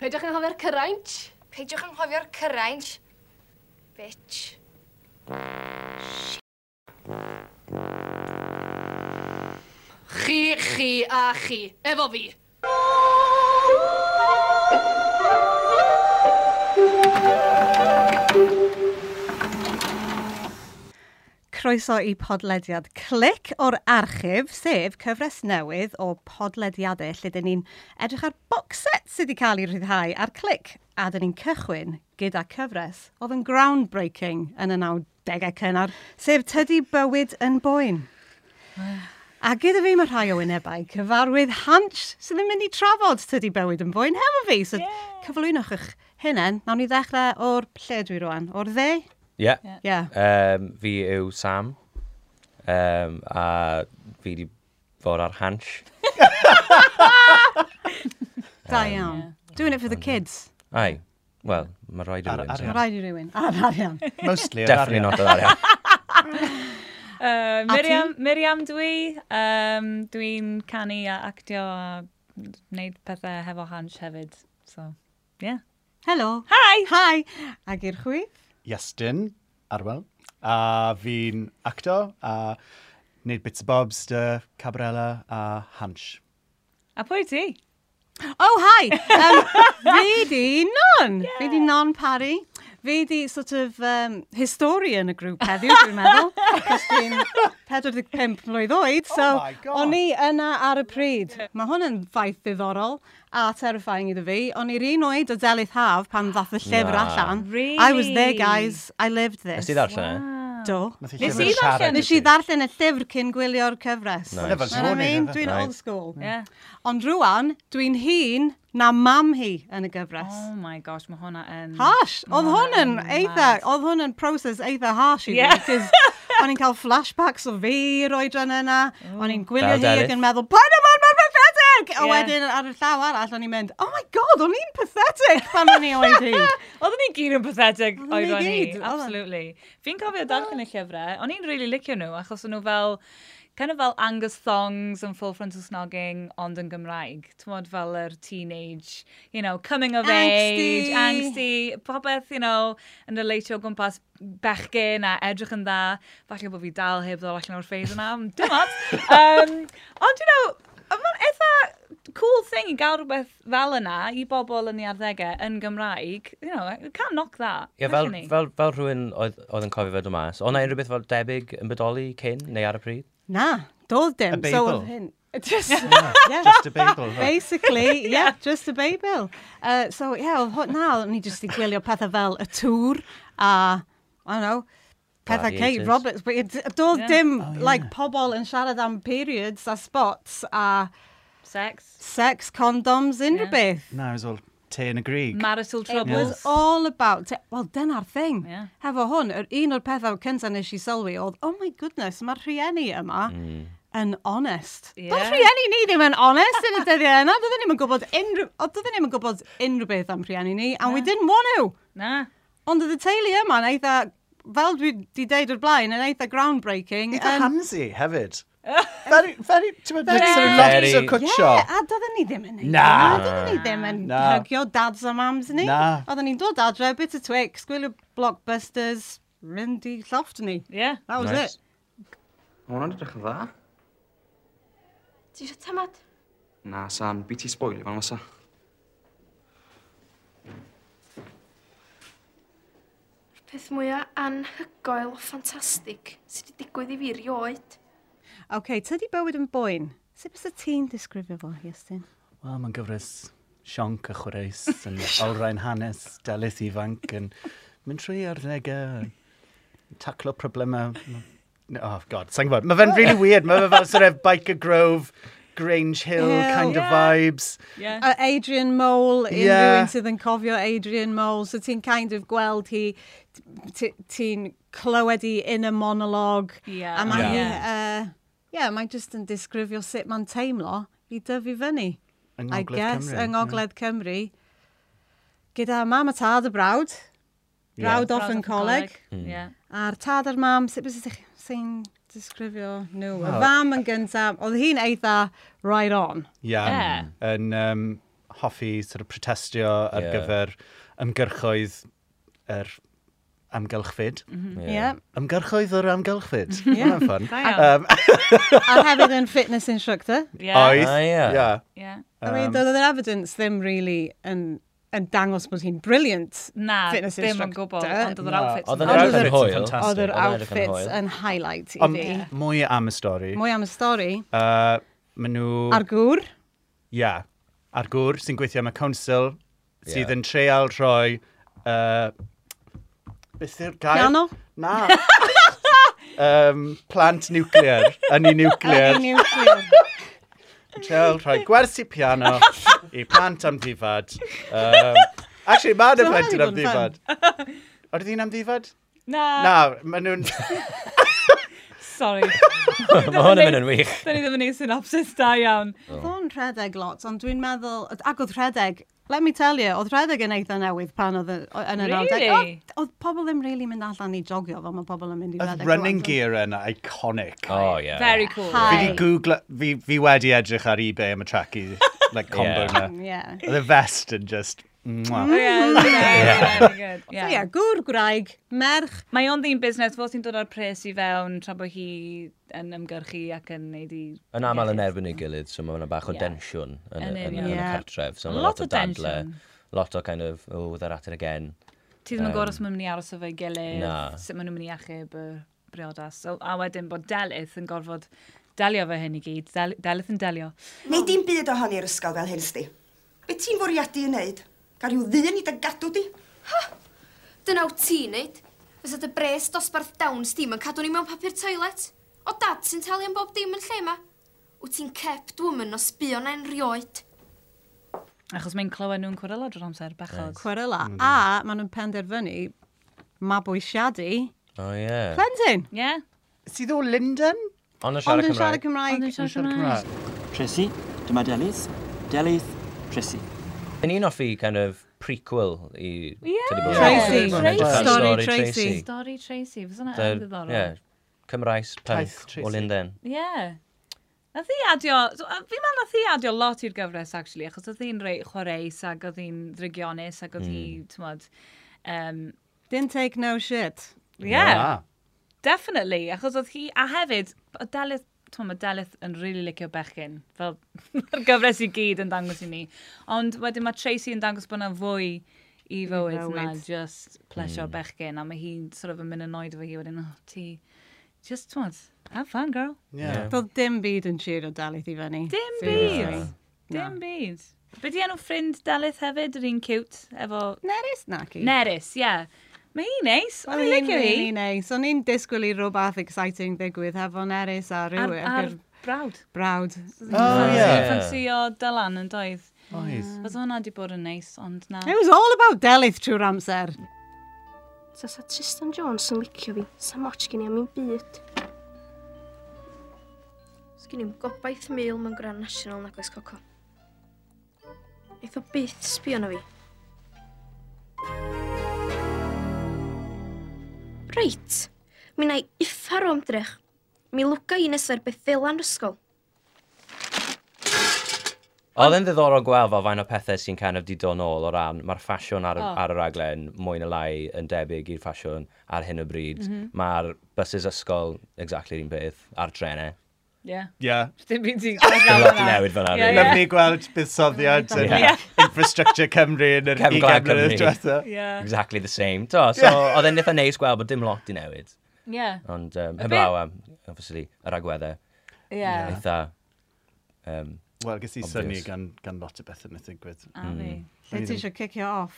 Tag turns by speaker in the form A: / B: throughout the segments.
A: Peidiwch yn hoffi'r cyraint.
B: Peidiwch anghofio'r cyraint. Bitch.
A: Chi, chi a chi. Efo fi.
C: Croeso i podlediad clic o'r archif, sef cyfres newydd o podlediadau lle dyn ni'n edrych ar box set sydd wedi cael ei rhyddhau ar clic. A dyn ni'n cychwyn gyda cyfres oedd yn groundbreaking yn y 90au cynnar, sef Tydi Bywyd yn Boen. A gyda fi mae rhai o wynebau cyfarwydd hans sydd yn mynd i trafod Tydi Bywyd yn Boen hefo fi. So cyflwynwch eich hunain, nawn ni ddechrau o'r lle dwi rwan, o'r dde?
D: Ie.
C: Ie. Yeah.
D: Um, fi yw Sam. Um, a fi wedi fod ar hansh.
C: Da iawn. Doing it for the kids.
D: Ai. Wel, mae rhaid i
E: Ar-
D: rhywun.
E: ar-
D: so-
E: ar-
C: Rhaid i rywun. Ah, Ar arian.
E: Mostly. yr
D: Definitely
E: arian.
D: not ar arian.
F: Uh,
C: A ti?
F: Miriam, Miriam dwi. Um, Dwi'n canu a actio a wneud pethau hefo hans hefyd. So, yeah.
C: Helo.
F: Hi!
C: Hi. Ag i'r chwith.
E: Iestyn, Arwel. A fi'n actor a wneud bits o bobs dy Cabrela a Hansh.
F: A pwy ti?
C: Oh, hi. Um, fi di non. Fi di non pari. Fi di sort of um, historian y grŵp heddiw, dwi'n meddwl. Cos dwi'n 45 mlynedd oed. So,
E: my God.
C: o'n i yna ar y pryd. Mae hwn yn ffaith ddiddorol a terrifying iddo fi. O'n i'r un oed o Delyth Haf pan ddath y llyfr
D: Na.
C: allan.
F: Really?
C: I was there, guys. I lived this.
D: Nes ti ddarllen e?
C: Do.
E: Nath i
F: Nes
E: llyfr
F: i ddarllen-
E: siarad i
C: Nes i ddarllen y llyfr cyn gwylio'r cyfres.
D: Nice.
E: Lefel
C: Know what I
E: sŵn i
C: mean?
E: fe.
C: Dwi'n
D: Right.
C: old school.
F: Yeah.
C: Ond rwan, dwi'n hun na mam hi yn y gyfres.
F: Oh my gosh, mae hwnna yn...
C: Harsh!
F: ma'
C: Oedd hwn yn eitha,
F: mad.
C: oedd hwn yn proses eitha harsh i
F: Yeah.
C: fi. 'cause O'n i'n cael flashbacks o fi i'r oedran yna. O'n i'n gwylio
D: Fel
C: hi ac
D: Delyth.
C: yn meddwl, pa'n yma yn pathetic! A
F: Yeah.
C: wedyn ar y llaw arall, o'n i'n mynd, oh my god, o'n i'n pathetic pan o'n i oed hi.
F: Oedden ni gyd yn pathetic
C: Oedden ni
F: oedden ni.
C: gyd, oedden.
F: Absolutely. Fi'n cofio darllen y llyfrau. O'n i'n really licio nhw, achos o'n nhw fel... Kind of fel Angus Thongs yn full frontal snogging, ond yn Gymraeg. Tymod fel yr teenage, you know, coming of
C: Angsty.
F: age, angsty, popeth, you know, yn relatio o gwmpas bechgyn a edrych yn dda. Falle bod fi dal heb ddod allan o'r ffeis yna, ond dim ond. Um, ond, you know, mae'n eitha cool thing i gael rhywbeth fel yna i bobl yn ei arddegau yn Gymraeg. You know, you can't knock that.
D: Ie, fel,
F: can you?
D: fel, fel rhywun oedd oedd yn cofio fe dod mas, oedd na unrhyw beth fel debyg yn bydoli cyn neu ar y pryd?
C: Na, doedd dim.
E: A
C: So
E: Babel.
C: oedd hyn. Just, yeah.
E: e. Just a bagel. fel.
C: Basically, yeah, just a Babel. Uh, so, yeah, oedd hwn- na, o'n i jyst i gwylio pethau fel y tŵr a, I don't know, pethau Kate
D: Gladiators.
C: Roberts. But it, doedd
F: Yeah.
C: dim, like, pobl yn siarad am periods a spots a
F: Sex,
C: sex, condoms, unrhyw
F: Yeah.
C: beth.
E: Na, it was all te yn y Grig.
F: marital
C: It was
F: troubles.
C: all about... Te- Wel, dyna'r thing.
F: Yeah.
C: Hefo hwn, yr un o'r pethau cyntaf nes i sylwi oedd, oh my goodness, mae'r rhieni yma yn honest.
F: Ie.
C: Doedd rhieni ni ddim yn honest yn y dyddiau yna. Doedden ni'n gwybod unrhyw... o, Doedden ni'n gwybod unrhyw beth am rhieni ni, and we didn't want to.
F: Na.
C: Ond oedd y teulu yma yn eitha, fel dwi wedi deud o'r blaen, yn eitha groundbreaking.
E: Eitha
C: yym,
E: Hamsey hefyd. Very, very, ti'n meddwl,
D: um, Very-
E: lots o cwtsio.
C: Ie, a doedden ni ddim yn neud.
E: Na.
C: hynna, Doedden ni ddim yn
E: Na.
C: hygio dads a mams ni.
E: Na.
C: Oedden ni'n dod adre, bit o Twix, gwylio blockbusters, mynd i llofft ni.
F: Yeah.
C: That was
D: Nice.
C: it.
G: Mae hwnna'n edrych yn dda.
B: Ti eisiau tamad?
G: Na, Sam, bi ti sboilio fan fysa.
B: Peth mwyaf anhygoel o ffantastig sydd wedi digwydd i fi rioed.
C: OK, tydi bywyd yn boen. Sut bys y ti'n disgrifio fo, Iestyn?
E: Wel, mae'n gyfres sionc a chwreis yn olrhain hanes, delyth ifanc yn mynd trwy arddegau, yn taclo problemau. No, oh, god, sa'n gwybod. Mae fe'n really weird. Mae fe fel sort of Biker Grove, Grange Hill
C: Hill.
E: kind of
F: Yeah.
E: vibes.
F: Yeah.
C: A Adrian Mole, unrhyw
E: Yeah.
C: un sydd yn cofio Adrian Mole, so ti'n kind of gweld hi, t- ti'n clywed hi in a monologue.
F: Yeah.
C: A mae hi,
F: Yeah.
C: uh, yeah, mae jyst yn disgrifio sut mae'n teimlo i dyfu fyny.
E: Yng
C: I
E: Ngogledd
C: guess,
E: Cymru,
C: yng
E: yeah.
C: Ngogledd Cymru. Gyda mam a tad y brawd. Brawd off yn coleg.
D: Hmm.
F: Yeah.
C: A'r tad a'r mam, sut bys ydych chi'n disgrifio nhw? Y fam yn gyntaf, oedd hi'n eitha right on.
E: Iawn.
F: Yeah.
E: Yn um, hoffi sort of protestio ar
D: Ie.
E: yeah. gyfer ymgyrchoedd yr amgylchfyd.
C: Mm-hmm. Ie.
E: Ymgyrchoedd yr amgylchfyd.
C: Ie.
E: Yeah. Mae'n ffyn.
F: Da iawn.
C: A hefyd yn fitness instructor.
F: Ie.
E: Oedd.
D: Ah, ie.
E: Yeah.
F: Ie.
C: I mean, doedd yr evidence ddim really yn, yn dangos bod hi'n brilliant.
F: Na,
C: Fitness
F: ddim yn
C: instructor.
F: gwybod, ond oedd yr
E: Na,
F: outfits
D: Oedd
F: yn
D: yn
C: Ond oedd yr-
F: dda.
D: edrych yn hwyl.
C: Oedd yr
D: Oedd o'n edrych yn
C: outfits
D: hwyl.
C: yn highlight i
E: Ond
C: fi.
E: mwy am y stori.
C: Mwy am y stori.
E: Uh, Mae nhw...
C: Ar gŵr.
E: Ia. Ar gŵr sy'n gweithio am y council sydd
D: Ie.
E: yn treial rhoi... Uh, beth yw'r gair?
C: Piano.
E: Na. um, plant niwclear. Yn i niwclear.
C: Nuclear.
E: Treial rhoi gwersi piano i plant am ddifad. Um, actually, mae'n y
C: So,
E: plant yn
C: hwnna
E: am
C: di bod
E: ddifad. Oedd hi'n am ddifad?
F: Na,
E: Na, maen nhw'n...
F: sorry.
D: Mae hwn yn mynd yn wych.
F: Da ni ddim yn ei synopsis da iawn.
C: Oedd o'n rhedeg lot, ond dwi'n meddwl... Ac oedd rhedeg... Let me tell you, oedd rhedeg yn eitha newydd pan oedd y- o- yn yr
F: Really?
C: 90au. Oedd- Oedd pobl ddim really mynd allan i jogio fel mae pobl yn mynd i
E: Oedd
C: rhedeg.
E: running gear yn iconic.
D: O, ie.
F: Very cool.
C: Hi.
E: Fi di Google... Fi, fi wedi edrych ar eBay am y tracu, like,
D: Ie.
E: combo yna.
C: Yeah.
E: Oedd y vest yn just... mwah.
F: Oh, Yeah, very, very good.
C: Mm. So
F: Yeah.
C: yeah, gŵr graig, merch,
F: Mae o'n ddyn busnes fel sy'n dod o'r pres i fewn tra bod hi yn ymgyrchu ac yn neud i...
D: Yn aml yn erbyn ei gilydd, so mae yna bach o
F: Ie.
D: densiwn yn y-
F: Yn
D: yn y- yn
F: union.
D: y
C: Ie.
D: cartref. So
F: A
D: ma'
F: lot
D: lot o
F: o
D: dadle,
F: tension.
D: lot o kind of, oh, they're at it again.
F: Ti ddim yn gwybod os maen nhw'n mynd i aros efo'i gilydd,
D: er- Na.
F: sut maen nhw'n mynd i achub y briodas. So, a wedyn bod Delith yn gorfod delio fe hyn i gyd. Del, Delith yn delio.
H: Neu dim byd ohoni i'r ysgol fel hyn, sti. Be ti'n fwriadu yn neud? Gael rhyw ddyn i dy gadw di?
B: Dyna wyt ti'n neud. Fysa dy bres dosbarth dawns dim yn cadw ni mewn papur toilet. O dad sy'n talu am bob dim yn lle ma. Wyt ti'n kept woman o sbio na'n rioed.
F: Achos mae'n clywed nhw'n cwrela drwy'r amser, bechod.
C: cwerela,
E: Mm.
C: a maen nhw'n penderfynu mabwysiadu
D: O, ie.
C: plentyn.
F: Ie? Yeah?
E: Sydd o Linden?
D: Ond yn
C: Ond
D: siarad
C: yn siarad
D: Cymraeg.
F: Ond
C: Cymraeg.
F: yn siarad Cymraeg.
I: Tracy, dyma Delith. Delith, Tracy.
D: Yn un off i kind of prequel i...
F: Ie.
D: Teddy Boy.
C: Tracy.
D: Yn edrych ar
F: Tracy.
D: Stori
C: Stori
D: Tracy.
F: Stori Tracy, fysa na
D: The-
F: yn ddiddorol.
D: Ie. Cymraes
E: Taith
D: punk
E: Tracy.
D: o Linden.
F: Yeah. Nath hi adio, so, a fi ma'n nath hi adio lot i'r gyfres, actually, achos oedd hi'n rei chwareus ac oedd hi'n drygionus ac oedd hi, mm. tymod, um,
C: Didn't take no shit.
F: yeah,
E: Ah,
F: definitely, achos oedd hi, a hefyd, y Dalith, tymod, mae Dalith yn rili really licio bechgyn, fel yr gyfres i gyd yn dangos i ni. Ond wedyn mae Tracy yn dangos bod yna fwy i fywyd na
C: fywyd.
F: just plesio mm. bechgyn, a mae hi'n sort of yn mynd yn oed efo hi wedyn, oh, ti, just, tymod, have fun, girl.
E: yeah.
C: Doedd dim byd yn siŵr o dalith i fyny.
F: Dim
C: Seriously.
F: byd. Dim byd. Be di enw ffrind Dalith hefyd, yr un cute, efo
C: Nerys nac i.
F: Neris, ie. Yeah. Mae hi neis,
C: Wel,
F: o'n i'n
C: hi'n
F: licio hi.
C: Really nice. O'n i'n disgwyl i rhywbeth exciting ddigwydd hefo Nerys a
F: Ar,
C: rhywun
F: ar
C: ac yr
F: brawd.
C: e, brawd.
E: Oh, yeah.
F: Ffansio Dylan yn doedd.
E: Oedd.
F: Fos hwnna di bod yn neis, ond na.
C: It was all about delith trwy'r amser.
B: Tasa Tristan Jones yn licio fi, sa moch gen i am un byd. Sgyn i'm gobaith mil mewn gran national nag oes coco. Eith o byth sbio na fi. Reit, mi na i iffar o ymdrech. Mi lwga i nesau'r bethddelan ysgol.
D: Oedd yn ddiddorol gweld fel faint o pethau sy'n kind of di dod nôl o ran, mae'r ffasiwn ar, oh. ar y raglen mwy na lai yn debyg i'r ffasiwn ar hyn o bryd. Mm -hmm. Mae'r buses ysgol, exactly un peth, a'r trenau.
F: Ie.
E: Yeah.
F: Dim byd ti'n
D: Dim lot i newid fan
F: Ie,
D: ar.
E: Lyfni gweld buddsoddiad yn infrastructure Cymru yn yr
D: Cefn
E: ugen
D: gwlad
E: mlynedd
D: Cymru.
E: diwetha.
F: Ie.
D: Exactly the same. To, so, oedd e'n eitha neis gweld bod dim lot i newid.
F: Ie.
D: Ond um,
F: Y
D: heblaw am, obviously, yr agweddau,
F: Ie.
D: eitha... Um,
E: Wel, ges i
D: Obvious.
E: syni gan, gan lot o bethau myth yn gwyth.
F: A fi.
D: Mm.
C: Lle ti eisiau cicio off?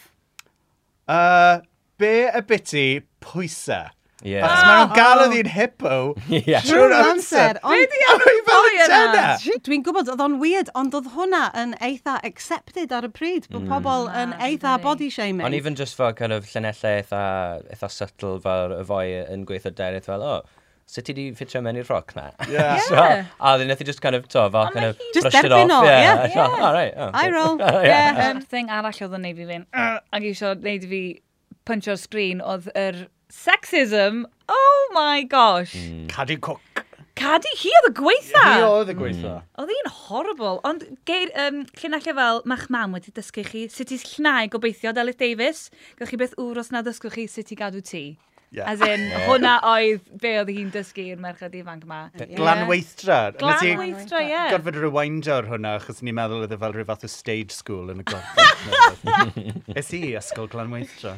E: Uh, be y biti pwysau?
D: yeah.
E: Achos maen nhw'n galw hi'n hippo
D: Yeah.
E: trwy'r amser.
C: Ond-
E: Ond fel y tena.
C: Shit, Dwi'n gwybod, oedd o'n weird, ond oedd hwnna yn eitha accepted ar y pryd. Bod
E: Mm.
C: pobl yn
F: Na,
C: eitha
F: dydi.
C: body shaming.
D: Ond even just fel kind of llenellau eitha, eitha subtle fel y foi yn gweithio derith fel, o, oh, sut ti di ffitio mewn i'r roc na?
E: Yeah.
D: so, a ddyn nath i just kind of, to, fel kind of
F: mae hi-
C: Just
D: brushed it
C: derbyn
D: off.
C: o,
D: Yeah,
C: ie.
D: so, All right. oh,
C: I
D: good.
C: roll.
D: Yeah.
C: yeah.
F: Um, thing arall oedd yn neud fi fynd, "Ugh," ac eisiau neud i fi puncho'r
D: Mm.
F: sgrin, oedd yr sexism, oh my gosh.
E: Cadw coc.
F: Cadi, hi oedd y gweitha!
E: Hi oedd y gweitha.
D: Mm.
F: Oedd hi'n horrible, ond geir, um, llunallau fel, ma'ch mam wedi dysgu chi sut i llnau gobeithio Delyth Davies. Gawch chi beth wr os na dysgwch chi sut i gadw tŷ.
E: Ie.
F: As in, hwnna oedd be oedd hi'n dysgu i'r merched ifanc ma.
E: Glanweithdra. Nes i
F: Glanweithdra, ie.
E: Gorfod rewindio ar hwnna, achos ni'n meddwl oedd e fel rhyw fath o stage school yn y gorfod. Es i i ysgol glanweithdra.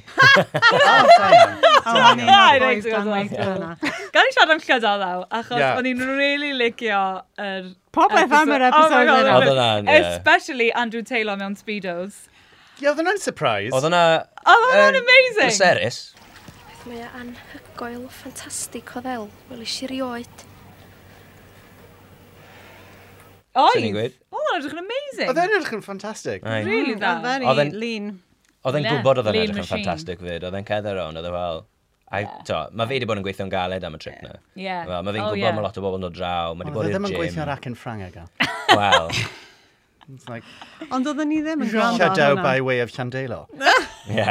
C: Oh,
F: Ie,
C: Oedd
F: reit,
C: dan
F: oedd
C: weithiau
F: oedd.
C: yna.
F: Gan i siarad am llydol ddaw, achos
E: Ie.
F: yeah. o'n i'n really licio yr...
C: Popeth am
F: Oh
C: yr episode yna.
D: Oedd hwnna'n, ie.
F: Especially Andrew Taylor mewn Speedos. Oh,
E: Ie, oedd hwnna'n surprise.
D: Oedd hwnna...
F: Oedd hwnna'n
D: yym,
F: amazing!
D: Pleserus.
B: Mae o anhygoel o ffantastig o ddel, wel eisiau rioed.
F: Oedd!
D: Swn i'n gweud.
F: Oedd hwnna'n edrych yn amazing!
E: Oedd e'n edrych yn ffantastig.
D: Ai.
F: Really dda.
C: Oedd very
D: Oedd e'n-
C: lean.
D: Oedd e'n
F: Ie,
D: gwybod oedd e'n
F: lean
D: edrych yn
F: machine.
D: ffantastig fyd. Oedd e'n cedd ar ond, oedd e fel... I, to, mae fe wedi bod yn gweithio'n galed am y trip na.
F: Ie.
D: Fel, mae fe'n
F: Oh,
D: gwybod
F: ie.
D: mae lot o bobl yn dod draw, mae wedi
E: Oedd
D: bod i'r
E: e ddim yn gweithio ar
D: gym.
E: ac yn Ffrangeg. o.
D: Wel,
E: It's like,
C: Ond oedden ni ddim yn gwrando ar
E: shadow by
C: hwnna.
E: way of Chandelo.
D: ie.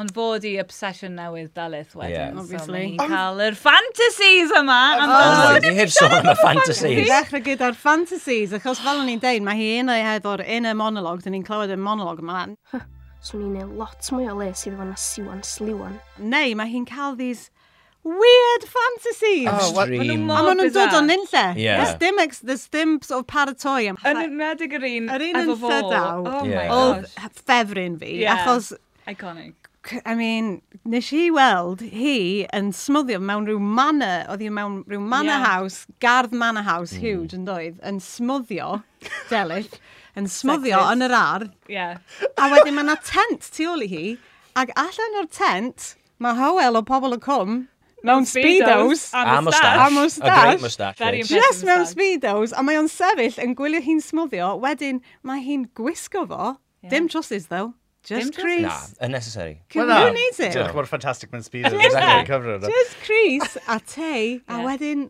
F: Ond fod i obsession newydd Dalith wedyn.
D: Ie.
F: So
C: Obviously.
F: mae hi'n cael yr fantasies yma. am
D: Oh,
F: Dalith.
D: ni heb sôn am y
C: Dwi'n
D: fantasies.
C: dechrau gyda'r fantasies, achos fel o'n i'n deud, mae hi un o'i heddwr in y monolog, dyn ni'n clywed y monolog yma.
J: Swn i'n neud lot mwy o les iddo fo na siwan sliwan.
C: Neu mae hi'n cael these weird fantasies.
E: Oh, what-
F: Ma' nhw
D: Dream.
F: mor
C: A maen nhw'n dod
F: bizarre.
C: o'n unlle.
D: Ie.
C: There's dim, ex, there's dim sort of paratoi am...
F: Yn enwedig yr un
C: Yr un
F: efo
C: yn
F: fo.
C: Llydaw.
F: Oh my
D: Ie.
C: Oedd
F: gosh.
C: ffefryn fi,
F: Ie.
C: achos
F: Iconic.
C: C- I mean, nes i weld hi yn smwddio mewn rhyw manor, oedd hi mewn rhyw manor
F: Ie.
C: house, gardd manor house huge yn doedd, yn smwddio, delyll, yn smwddio
F: Sexist.
C: yn yr ardd,
F: Yeah.
C: a wedyn mae yna tent tu ôl i hi, ac allan o'r tent, mae howel o pobl y cwm, mewn speedos,
D: A moustache.
C: A moustache.
D: A great moustache.
F: Very
D: Rich.
F: impressive.
C: just mewn
F: moustache.
C: speedos, a mae o'n sefyll yn gwylio hi'n smwddio, wedyn mae hi'n gwisgo fo, dim trosses though, just
F: trowsus.
D: Na,
C: crease.
D: unnecessary.
C: Can
E: Wel, na.
C: you need it?
E: Diolch mor ffantastig mewn speed.
D: Exactly.
C: Just Chris a te, a
F: Ie.
C: wedyn,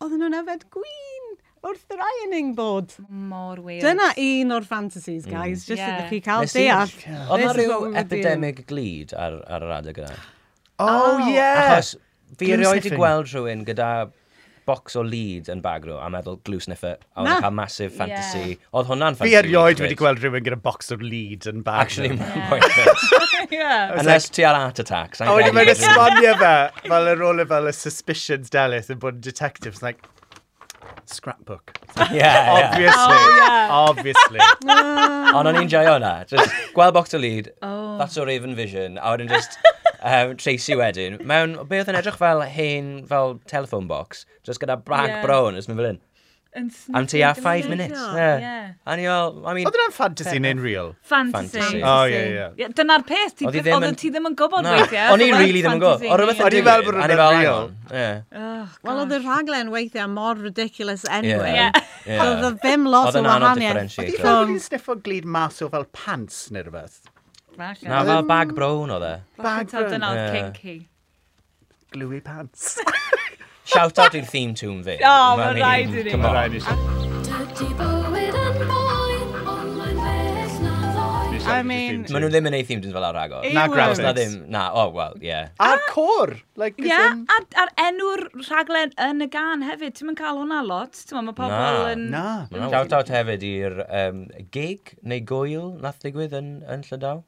C: oedden nhw'n yfed gwyn wrth yr ironing board.
F: Mor weird.
C: Dyna un o'r fantasies, guys, just
F: Ie.
C: ydych chi cael
D: Mm. Nes i-
C: deall.
D: Oedd na
C: This is what
D: rhyw
C: we were doing.
D: epidemic glid ar, ar yr adeg yna.
E: Oh,
C: Eh.
E: yeah.
D: Achos fi
E: Glue
D: erioed i
E: sniffing.
D: gweld rhywun gyda bocs o lead yn bag nhw a meddwl glue sniffer a oedd
C: Na.
D: yn cael massive fantasy. Oedd hwnna'n
E: Fi
D: fantasy.
E: erioed
D: fyd.
E: wedi gweld rhywun gyda box o'r lead yn bag.
D: Actually, mae'n pointless.
F: yeah.
D: Unless ti ar heart attack.
E: A wedi mae'n "Oh, esbonio fe, fel yr ole fel y suspicions delith yn bod yn detective. It's like, scrapbook.
D: Yeah, yeah.
E: Obviously. Obviously.
D: Ond o'n i'n joio hwnna. Just gweld bocs o lead,
F: Oh.
D: that's o Raven Vision, a wedyn just um, Tracy wedyn. Mewn, be oedd yn edrych fel hen, fel telephone box, just gyda brag
F: Ie.
D: brown, ys mynd fel un.
F: And
D: Am ti a five minutes.
F: Yeah.
D: Yeah. And you'll, I mean,
E: Oedd yna'n fantasy neu'n real?
F: Fantasy.
D: Fantasy.
E: Oh, yeah,
F: Ie, Dyna'r peth, ti
D: Oedd hi
F: byth-
D: ddim
F: oedd
D: yn-
F: ti ddim yn gwybod
D: Na,
F: weithiau.
D: O'n i
F: so
D: really ddim yn gwybod.
F: fantasy
D: Oedd rhywbeth
E: O'n
D: yn
E: i'n
D: digwydd.
E: meddwl
D: a
E: bod
D: o'n i
E: rhywbeth
D: fel,
E: real.
D: hang on, ie,
F: Oh,
C: Wel, oedd y rhaglen weithiau mor ridiculous anyway.
D: Ie.
C: So Oedd y ddim lot
D: Oedd
C: o
D: yn anodd
C: wahaniaeth.
E: Oedd
D: differentiator.
E: hi'n fel wedi sniffo glid mas o fel pants neu rhywbeth.
F: gosh.
D: Na, fel bag brown oedd e.
E: Bag
F: Ti'n dyna oedd
D: Ie.
F: kinky.
E: Gluey pants.
D: Shout out i'r theme tune fi.
F: O,
D: I
F: mae'n
D: mean,
F: rhaid i ni.
D: come on.
B: Dydy bywyd yn boen, ond mae'n well na ddoen.
C: I mean,
D: Maen nhw ddim yn ei theme tunes fel ar agor.
C: Na graphics.
D: Na ddim, na, oh, well, yeah.
E: A'r cor. Like,
F: Ie, a- a'r enw'r rhaglen yn y gan hefyd, ti'n mynd cael hwnna lot. Ti'n mynd, mae pobl
D: Na.
F: yn...
E: Na.
D: Shout out hefyd i'r um, gig neu gwyl nath ddigwydd yn, yn Llydaw.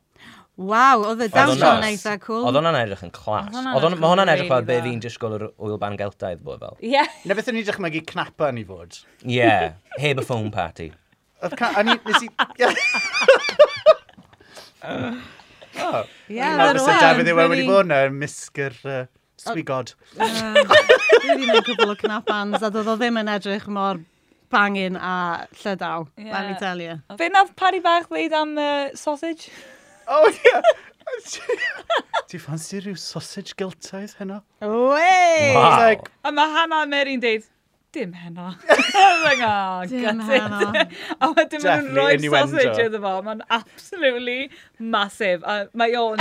C: Waw, oedd y
F: e
D: Oedd
C: dawnsio
D: hwnna-
C: yn eitha cool.
D: Oedd hwnna'n edrych yn clas.
F: Oedd hwnna'n
D: Oedd hwnna-
F: edrych
D: ma' hwnna'n
F: yn
D: edrych fel
F: really
D: be
F: dda.
D: fi'n disgwyl yr wyl ban geltaidd bod fel.
F: Ie.
E: Na beth o'n i'n dychmygu cnapan i fod.
D: Yeah, heb y phone party.
E: Oedd ca- o'n i- nes i...
C: Ie,
F: e
E: Na,
C: oedd
E: fysa Dafydd Iwan wedi
C: pretty-
E: bod na, misgr uh, swigod.
C: Fi wedi gwneud cwbl o cnapans, a doedd o ddim yn edrych mor bangin a llydaw, let me
F: Ie.
C: tell you.
F: Be nath pari bach ddeud am uh, sausage?
E: O, ie. Ti ffansi rhyw sausage giltaidd heno?
C: Wey!
D: Wow.
E: like-
F: A mae Hannah a Mary'n deud, dim heno. Like, oh,
C: Dim
F: got
C: heno.
F: it. A wedyn maen nhw'n
E: Definitely
F: rhoi
E: innuendo.
F: sausage iddo fo. Mae'n absolutely massive. A mae o'n...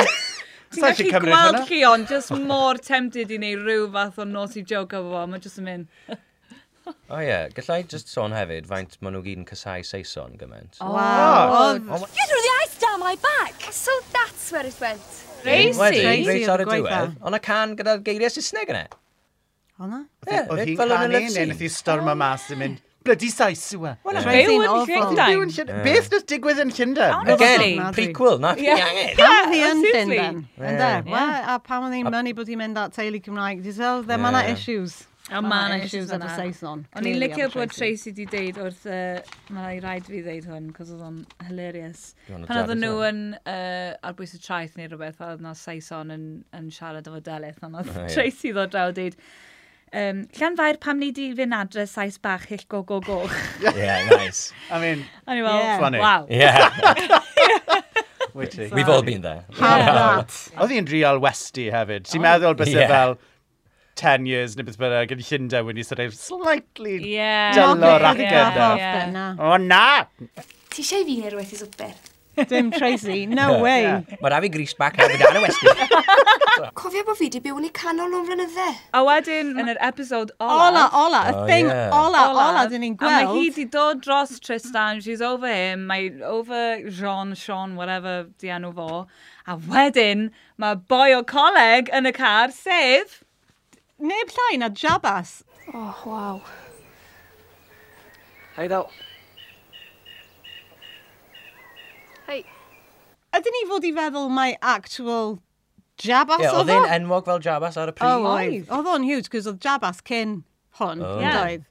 F: Ti'n
E: Sa'n gallu
F: gallu
E: cymryd
F: gweld
E: hwnna?
F: chi o'n just mor tempted i wneud rhyw fath o naughty joke efo fo. Mae'n just yn mynd,
D: O oh, ie, yeah. gallai just sôn hefyd faint maen nhw gyd yn casau Saeson gymaint.
C: Wow. Oedd
B: Get through the ice down my back! So that's where it went.
D: Wedyn,
F: Tracy.
C: Tracy
D: reit ar y
C: oedd y gwaetha.
D: diwedd, ond y can gyda geiriau Saesneg yna.
C: Oedd na?
D: e. Ie,
E: Oedd hi'n
D: fel yn y love
E: canu, neu
D: scene.
E: nath hi storm mas yn mynd, bloody sais yw e.
D: Wel, na,
E: Ie. Beth
C: Byw yn
F: Byw yn
E: yw
F: Llundain.
E: yn Llundain? Beth nath digwydd yn Llundain?
F: Honestly.
D: Again,
C: Ofnadwy.
D: prequel, na fi angen.
C: Pam oedd hi yn
F: seriously.
C: Llundain? Ynde? Wel, a pam oedd hi'n mynd bod hi'n mynd at teulu Cymraeg? Dwi'n sel, dde, mae na
D: Ie.
C: issues. Ma'
F: A Oh, ma' 'na issues
C: efo
F: yna.
C: Saeson.
F: O'n i'n
C: clearly
F: licio
C: efo
F: bod
C: Saeson.
F: Tracy di deud wrth, uh, mae'n rhaid fi ddeud hwn, cos oedd o'n hilarious.
D: You wanna
F: Pan
D: drag
F: oedd
D: us
F: nhw
D: in?
F: yn uh, ar bwys y traeth neu rhywbeth, a oedd na Saeson yn, yn siarad efo Delyth, ond oedd
D: O, ie.
F: Tracy ddod draw deud, um, Llanfair pam ni di fynd adre Saes bach hill go go go.
D: Yeah, nice.
E: I mean,
F: A ni fel,
C: Yeah.
E: Funny.
F: wow.
D: Yeah,
E: wyt ti.
D: we've all been there.
C: Have that.
E: Oedd hi'n real westy hefyd.
F: Oh.
E: Ti'n meddwl bys e
D: Ie.
E: fel 10 years neu beth bynnag yn Llundain wedi sort of slightly...
F: Yeah.
E: Dylo'r
C: Knock it
E: acen
C: the fuck
E: yna.
C: off then, na.
E: O na!
B: Ti eisiau fi neu rhywbeth i swper?
C: Dim Tracy, no way.
D: Mae da fi greased back hefyd ar y westy.
B: Cofio bod fi wedi byw yn ei canol o'n flynydde.
F: A wedyn, yn yr episode
C: Ola,
F: ola,
C: ola, y
D: Oh,
C: thing
D: yeah.
C: ola, ola, dyn ni'n
F: A mae hi
C: gweld.
F: di dod dros Tristan, she's over him, mae over Jean, Sean, whatever di enw fo. A wedyn, mae boi o coleg yn y car, sef...
C: Neb llai na Jabas.
J: Oh, wow.
I: Hei då.
J: Hei,
C: Ydyn ni fod i feddwl mae actual Jabas
D: Ie,
C: oedd
D: Oedd
C: o?
D: e'n enwog fel Jabas ar y pryd?
C: Oh, oedd. Oedd o'n huge, cos oedd Jabas cyn hwn,
D: Oh.
C: oh.
F: Yeah.
C: oedd.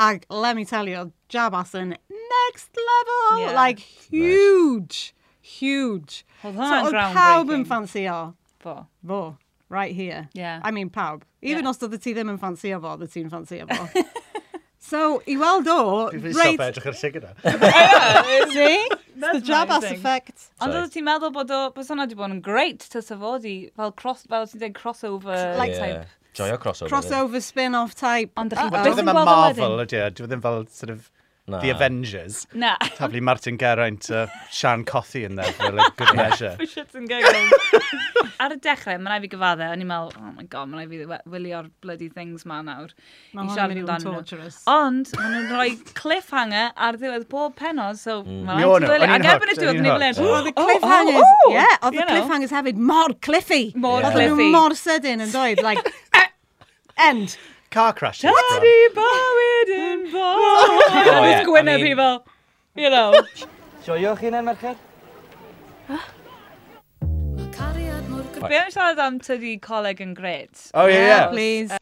C: Ac let me tell you, oedd Jabas yn next level,
F: Yeah.
C: like huge, huge. So
F: Oedd hwnna'n
C: oedd pawb yn
F: groundbreaking.
C: ffansio
F: Fo.
C: fo, right here.
F: Yeah.
C: I mean, pawb. Even
F: Yeah.
C: os oedd y ti ddim yn ffansio fo, oedd y ti'n ffansio fo. so, i weld o,
E: Fi wedi
C: reit,
E: stop edrych ar sigur
C: see? It's the
F: That's
C: Jabas
F: amazing.
C: effect.
F: Ond
D: Sorry.
F: oedd ti'n meddwl bod o, bod hwnna wedi bod yn great tysa fo di, fel, cross, fel ti'n dweud crossover
C: Like-
F: like, type.
D: e. Joio crossover.
C: Crossover, spin-off type.
F: Ond dych chi
C: Uh-oh.
E: Dwi
F: byth
E: ddim
F: yn
E: yn
F: gweld o
E: Marvel
F: wedyn.
E: ydy e. Dwi ddim fel sort of
D: Na.
E: The Avengers.
F: Na.
E: Taflu Martin Geraint a Sian Cothi yn there for like good measure.
F: For shits and giggles. Ar y dechrau, mae'n rhaid fi gyfadde, o'n i'n meddwl, oh my god, mae'n rhaid fi we- wylio'r bloody things ma nawr.
C: Ma'
F: I
C: hwn yn
F: siarad
C: mynd i fod yn
F: amdanyn nhw.
C: torturous.
F: Ond, maen nhw'n rhoi cliffhanger ar ddiwedd bob penod, so
E: Mi
F: mae'n
E: Mm. o'n nhw,
F: rhaid fi wylio.
E: o'n i'n
F: Ac erbyn y
E: hooked,
F: diwedd,
E: o'n
F: o'n
E: i'n
F: i'n mynd,
D: hooked.
C: Oedd y
F: oh,
C: cliffhangers,
F: oh, oh,
C: yeah, oedd y
F: you know.
C: cliffhangers hefyd mor cliffy.
F: Mor
C: Oedd nhw
F: cliffy.
C: mor sydyn yn dweud, like, eh, end.
E: Car crashes.
F: Daddy bywyd yn fawr.
D: Oh, yeah,
F: Oedd
D: I
F: Gwyneb hi
D: mean-
F: fel, you know.
I: Joio'ch hunan, merched?
F: Fi am siarad am tydi coleg yn gret.
E: Oh yeah, yeah.
C: Please.
F: Uh,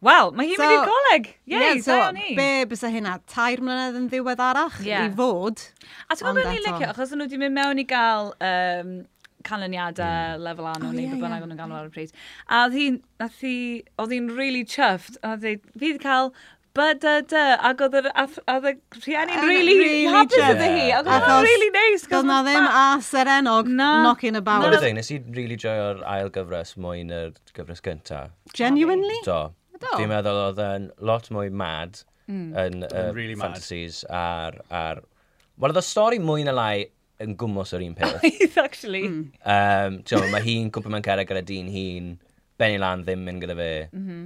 F: Wel, mae hi'n mynd
C: So-
F: i'r coleg. Ie,
C: so,
F: da ni.
C: be bysa hynna? Tair mlynedd yn ddiweddarach
F: Yeah.
C: i fod.
F: A ti'n gwybod
C: Ond
F: beth ni'n
C: eto.
F: licio? Achos o'n nhw wedi mynd mewn i gael um, canlyniadau mm. lefel anno
C: Oh,
F: oh, neu
C: ie,
F: beth bynnag
C: ie.
F: o'n nhw'n galw ar y pryd. A oedd hi'n, nath hi, oedd hi'n really chuffed. A oedd hi, fi wedi cael BDD, ac oedd yr ath- oedd y rhieni'n
C: Yn
F: really,
C: really
F: hapus
C: chuffed.
F: oedd hi. Ac
C: Achos
F: oedd hwnna'n really nice. 'cos
C: Doedd na
F: ma'
C: ddim
F: fa-
C: as yr enog
F: Na.
C: knocking
D: Dyna
C: about.
D: thing, nes i really joio'r ail gyfres mwy na'r gyfres gyntaf.
C: Genuinely?
D: Do.
C: Do. Mm.
D: Fi'n meddwl oedd yn lot mwy mad yn uh,
E: really mad.
D: fantasies ar... ar... Wel, oedd y stori mwy na lai yn gwmws o'r un peth.
F: Actually.
C: Hmm.
D: um, ti'n gwbod, mae hi'n cwmpa mewn cerdd gyda dyn hun, Benny Lan ddim yn gyda fe.
C: Mhm.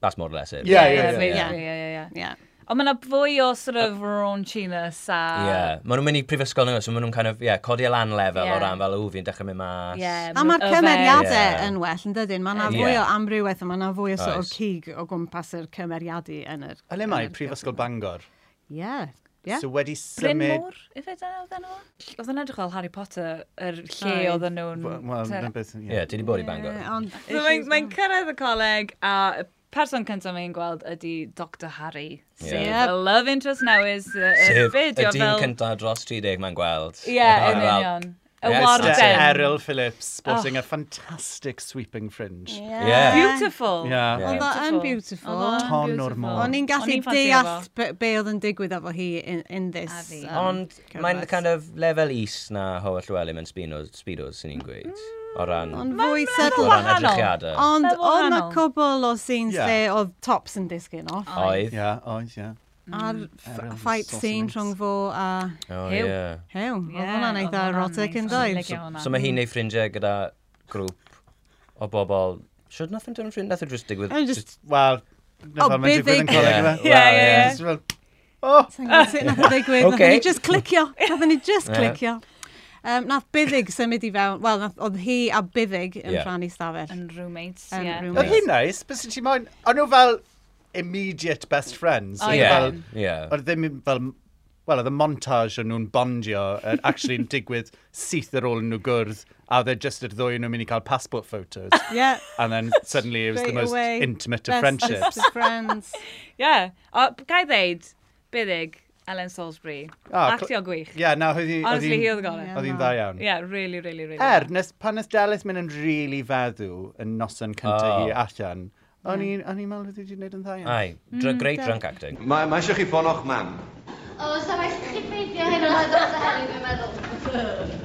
D: That's more or less it.
E: Yeah, yeah,
F: Ie,
E: yeah.
F: basically,
C: yeah.
F: ie, ie, ie.
C: Yeah.
F: Ond mae yna fwy o sort of raunchiness a...
D: Yeah. Maen nhw'n mynd i prifysgol nhw, so maen nhw'n kind of, yeah, codi y lan lefel
F: Yeah.
D: o ran fel, ww, fi'n dechrau mynd mas.
F: Yeah,
C: A mae'r
F: yfed.
C: cymeriadau
D: Ie.
C: yn well yn dydyn. Mae yna
D: Ie.
C: fwy o amrywiaeth a mae yna fwy o sort of
D: Oes.
C: cig o gwmpas yr cymeriadu yn yr...
E: Yn ymai, Prifysgol Bangor.
C: Yeah. Yeah.
E: So wedi
F: Bryn
E: symud...
F: Mawr, ifed yna oedd enw? o? Oedd yn edrych fel Harry Potter, yr lle
C: Oedd.
F: oedd nhw'n...
E: Wel,
F: ter-
E: na beth...
D: Yeah, ti di bod i Bangor.
C: Ie, ond
F: So mae'n mae cyrraedd y coleg a y person cyntaf mae'n gweld ydy Dr Harry. Sef
C: Yep.
F: y love interest newydd.
D: Sef
F: Sef
D: y dyn cyntaf dros 30 mae'n gweld.
F: Ie, yn
D: Wel,
F: union. Y
D: Yes,
E: Mr.
D: Arden.
F: warden.
E: Errol Phillips sporting a fantastic sweeping fringe.
D: Yeah.
F: Beautiful.
E: Yeah. Oedd
C: o yn beautiful.
F: Oedd o yn
E: Ton o'r
F: beautiful.
E: môr.
C: O'n i'n gallu
F: ffansio
C: deall
F: fo.
C: be, be oedd yn digwydd efo hi in, in this. um,
F: A fi.
D: Ond mae'n
C: cyfres.
D: kind of level is na Howell Llewellyn yn Speedos, Speedos, sy'n ni'n gweud.
F: Mm.
D: O ran,
C: Ond fwy
D: o
C: settled.
D: ran
F: wahanol.
D: edrychiadau.
C: Ond
F: Level
C: oedd na
F: wahanol.
C: cwbl o scenes
E: Ie.
C: yeah. lle oedd tops yn disgyn off.
D: Oedd.
E: Yeah, oedd, yeah.
F: Mm.
C: A'r
E: Ariel
C: f-
E: was
C: fight
E: saucy
C: scene
E: mix.
C: rhwng fo a
D: O,
F: Ew.
D: ie.
C: hew. Oedd
F: Ie,
C: hwnna'n eitha
F: oedd hwnna'n
C: erotic yn
F: neis. O'n i'n
C: doedd.
F: licio hwnna.
D: So mae hi'n neud ffrindiau gyda grŵp o bobl. Should nothing done ffrindiau? Nothing just e digwydd.
C: O'n i just,
E: Wel,
C: O,
E: na fel mae'n digwydd
C: byddig.
E: yn coleg yma.
F: Ie, ie,
D: Wel,
F: ie.
E: Just fel, O,
C: Sa'n gwybod sut nath o ddigwydd. Okay. Nath
D: Okay.
C: ni just clicio. Nath ni just
D: Ie.
C: clicio. Um, nath Byddig symud i fewn. Wel, nath- oedd hi a Byddig yn
D: Ie.
C: yeah. rhannu stafell.
F: Yn roommates,
C: Yn
F: ie.
C: roommates.
E: Oedd hi'n nice, bys ti moyn... O'n nhw fel immediate best friends.
F: O,
E: Oedd
F: ie.
E: fel-
D: Yeah. Yeah.
E: Oedd ddim fel... Wel, oedd y montage o'n nhw'n bondio yn actually yn digwydd syth ar ôl nhw gwrdd a oedd e just yr ddwy o nhw'n mynd i cael passport photos.
C: Yeah.
E: And then suddenly it was the
C: Straight
E: most
C: away.
E: intimate of
C: Best
E: friendships.
C: of friends.
F: Ie. O, gai ddeud, byddig, Ellen Salisbury.
E: Ah, cl-
F: Actio gwych.
E: Ie, na, oedd hi- oedd
F: Honestly, hi
E: hi'n...
F: oedd gorau.
E: Oedd hi'n dda iawn.
F: Ie, really, really, really.
E: Er, nes, pan nes Dalys mynd yn rili feddw yn noson
D: O.
E: cyntaf hi allan, o'n i'n o'n i'n meddwl oedd hi wedi gwneud yn dda iawn.
D: Ai,
F: Mm,
D: dr great drunk acting.
K: Mae ma eisiau chi bonoch mam.
B: O, sa well chi peidio hyn o'n dod o heri, fi'n meddwl.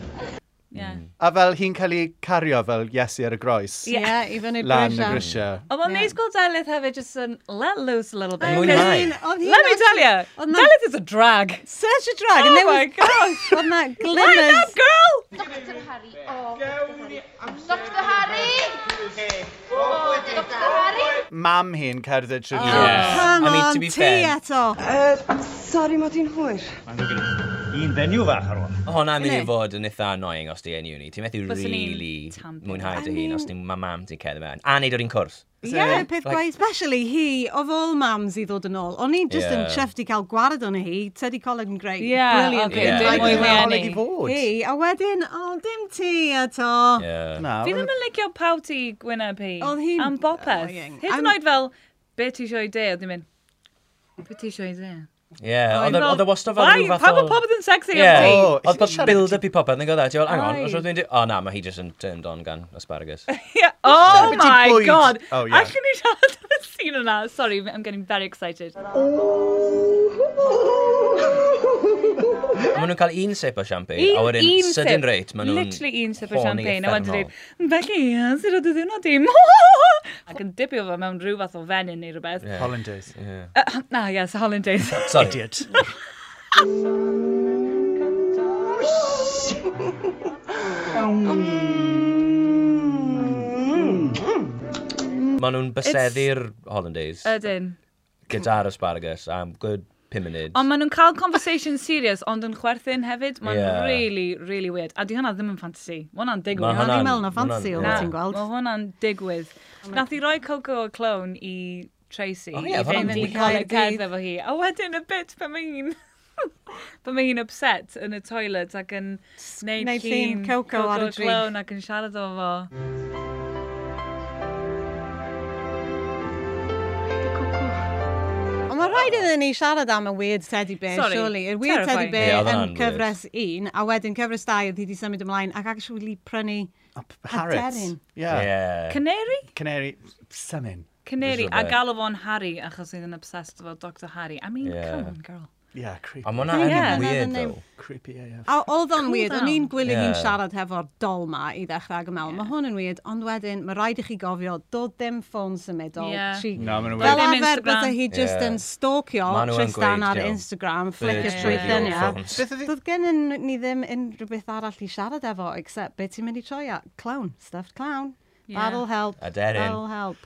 F: Ie.
E: A fel hi'n cael ei cario fel Iesu ar y groes,
F: Ie.
C: Yeah, i fyny
E: lan y
C: Brysia.
E: grisiau.
F: Ond mae'n neis gweld Daleth hefyd just yn let loose a little bit.
D: Mwy
F: Because-
D: lai.
C: Oedd hi'n
F: Let me tell you,
C: Oedd na-
F: Daleth is a drag.
C: Search a drag.
F: Oh
C: and there
F: my
C: was, gosh. Oedd na
F: Light
C: glimmers.
F: up, girl!
B: Dr Harry, o. Dr Harry! O, Dr Harry!
E: Mam hi'n cerdded
F: Oh.
E: trwy hi.
D: Yeah.
C: Come
D: I mean,
C: on,
D: to be
C: ti
D: fair-
C: eto.
H: Sori mod i'n hwyr.
I: Un fenyw fach ar ôl.
D: Hwna'n mynd i fod yn eitha annoying os di enw ni. Ti'n methu
F: Byswn i'n
D: really
F: tampu.
D: mwynhau dy hun os ti'n ma mam ti'n cedd mewn. A neud o'r un cwrs.
C: Yeah, peth
D: like-
C: gwaith. Especially hi, of all mams i ddod yn ôl. O'n i'n just yn
D: Yeah.
C: chuffed i cael gwared o'n hi. Teddy Collin great.
F: Yeah,
C: Brilliant.
F: okay,
D: Yeah.
E: Mae'n
D: Mwy
E: ei
F: rieni.
E: ddaolig i fod.
C: Hi, a wedyn, o, dim ti eto.
D: Yeah.
E: Na,
F: Fi
E: wel,
F: ddim yn licio pawb ti Gwyneb hi.
C: Oedd hi'n
F: Am bopeth.
C: annoying.
F: Hyd yn
C: I'm-
F: oed fel, be ti isio i de? Oedd hi'n mynd, be ti isio i de?
D: Yeah. Oedd
F: Fel,
D: o- Oedd y wastad fel
F: "Why?
D: rhyw fath
F: Pawb o pobl yn sexy am
D: Yeah.
F: ti.
E: Oh,
D: Oedd bod
E: siarad-
D: build up i popeth yn gyda. Ti'n fel, hang on,
F: Aye.
D: os oedd hi'n di... O na, mae hi just yn turned on gan asparagus.
F: Yeah. Oh
E: Siarad beth i
F: my
E: bwyd.
F: god.
E: Oh, yeah.
F: Allwn ni siarad am y scene yna. Sorry, I'm getting very excited.
D: A maen nhw'n cael un sip o champagne,
F: Un,
D: a wedyn
F: un
D: sudden
F: sip.
D: rate, maen nhw'n...
F: Literally un sip o
D: horny
F: champagne. A wedyn
D: uffernol.
F: dweud, "Mm, felly, ia, sydd o dydyn o dim. Ac yn dipio fe mewn rhyw fath o fenyn neu rhywbeth.
D: Yeah.
E: Hollandaise.
D: Yeah.
F: Uh, na, yes, Hollandaise.
D: Sorry.
E: Idiot.
D: Maen nhw'n byseddu'r hollandaise
F: Ydyn.
D: gyda'r asparagus am good 5 munud.
F: Ond maen nhw'n cael conversation serious, ond yn chwerthin hefyd. Mae'n
D: Yeah.
F: really, really weird. A di hwnna ddim yn fantasy. Mae hwnna'n digwydd.
D: Ma'
C: O'n i'n
D: hwnna'n-
C: meddwl na fancy
D: hwnna'n-
C: oedd
D: Na.
C: ti'n gweld.
F: Mae hwnna'n digwydd.
C: Oh
F: Nath i roi Coco o clone i Tracy.
D: O ie,
F: I
D: oedd hwnna'n
F: fynd i
D: digwydd.
F: cael y
C: Caerdydd.
F: cerdd efo hi. A wedyn y bit pan mae hi'n... pan mae hi'n upset yn y toilet ac yn neud
C: neud llun
F: llun
C: Coco ar y
F: Coco
C: drink.
F: clone ac yn siarad o fo.
C: Ond mae rhaid iddyn ni siarad am y weird teddy bear,
F: Sorry,
C: surely. Y weird teddy
F: terrifying.
C: bear
D: Ie, oedd
C: yn
D: hwnna'n weird.
C: cyfres un, a wedyn cyfres dau oedd hi wedi symud ymlaen ac actually prynu...
E: Harrods.
C: Aderyn.
E: Yeah.
D: Yeah.
F: Canary?
E: Canary. Semin.
F: Canary.
D: Rhywbeth.
F: A galw fo'n Harry achos oedd yn obsessed efo Dr Harry. I mean,
D: Yeah.
F: come on, girl.
E: Yeah,
D: A
E: creepy.
D: mae hwnna
C: Ie,
D: yn
C: hwnna oedd
D: weird,
C: yn
D: though.
E: Creepy AF.
C: A oedd o'n
F: Cool
C: weird, o'n
F: down.
C: i'n gwylio hi'n
D: Ie.
C: siarad hefo'r dol ma i ddechrau ag yn meddwl, mae hwn yn weird, ond wedyn mae rhaid i chi gofio, dod dim ffôn symudol.
F: Ie.
C: She
E: No, mae'n
C: Fel
E: weird.
F: Ddim
C: arfer
F: Instagram.
C: bydde hi just
D: Ie.
C: yn stalkio
D: Ma' nhw yn
C: Tristan
D: gweud,
C: ar
D: diolch.
C: Instagram, flicker
D: Birds
C: trwy
D: with your
C: lluniau.
D: phones.
E: Beth ydi...
C: Doedd gennym ni ddim unrhyw beth arall i siarad efo, except beth ti'n mynd i troi at. Clown, stuffed clown.
F: Ie.
C: That'll help.
D: Aderyn.
C: That'll help.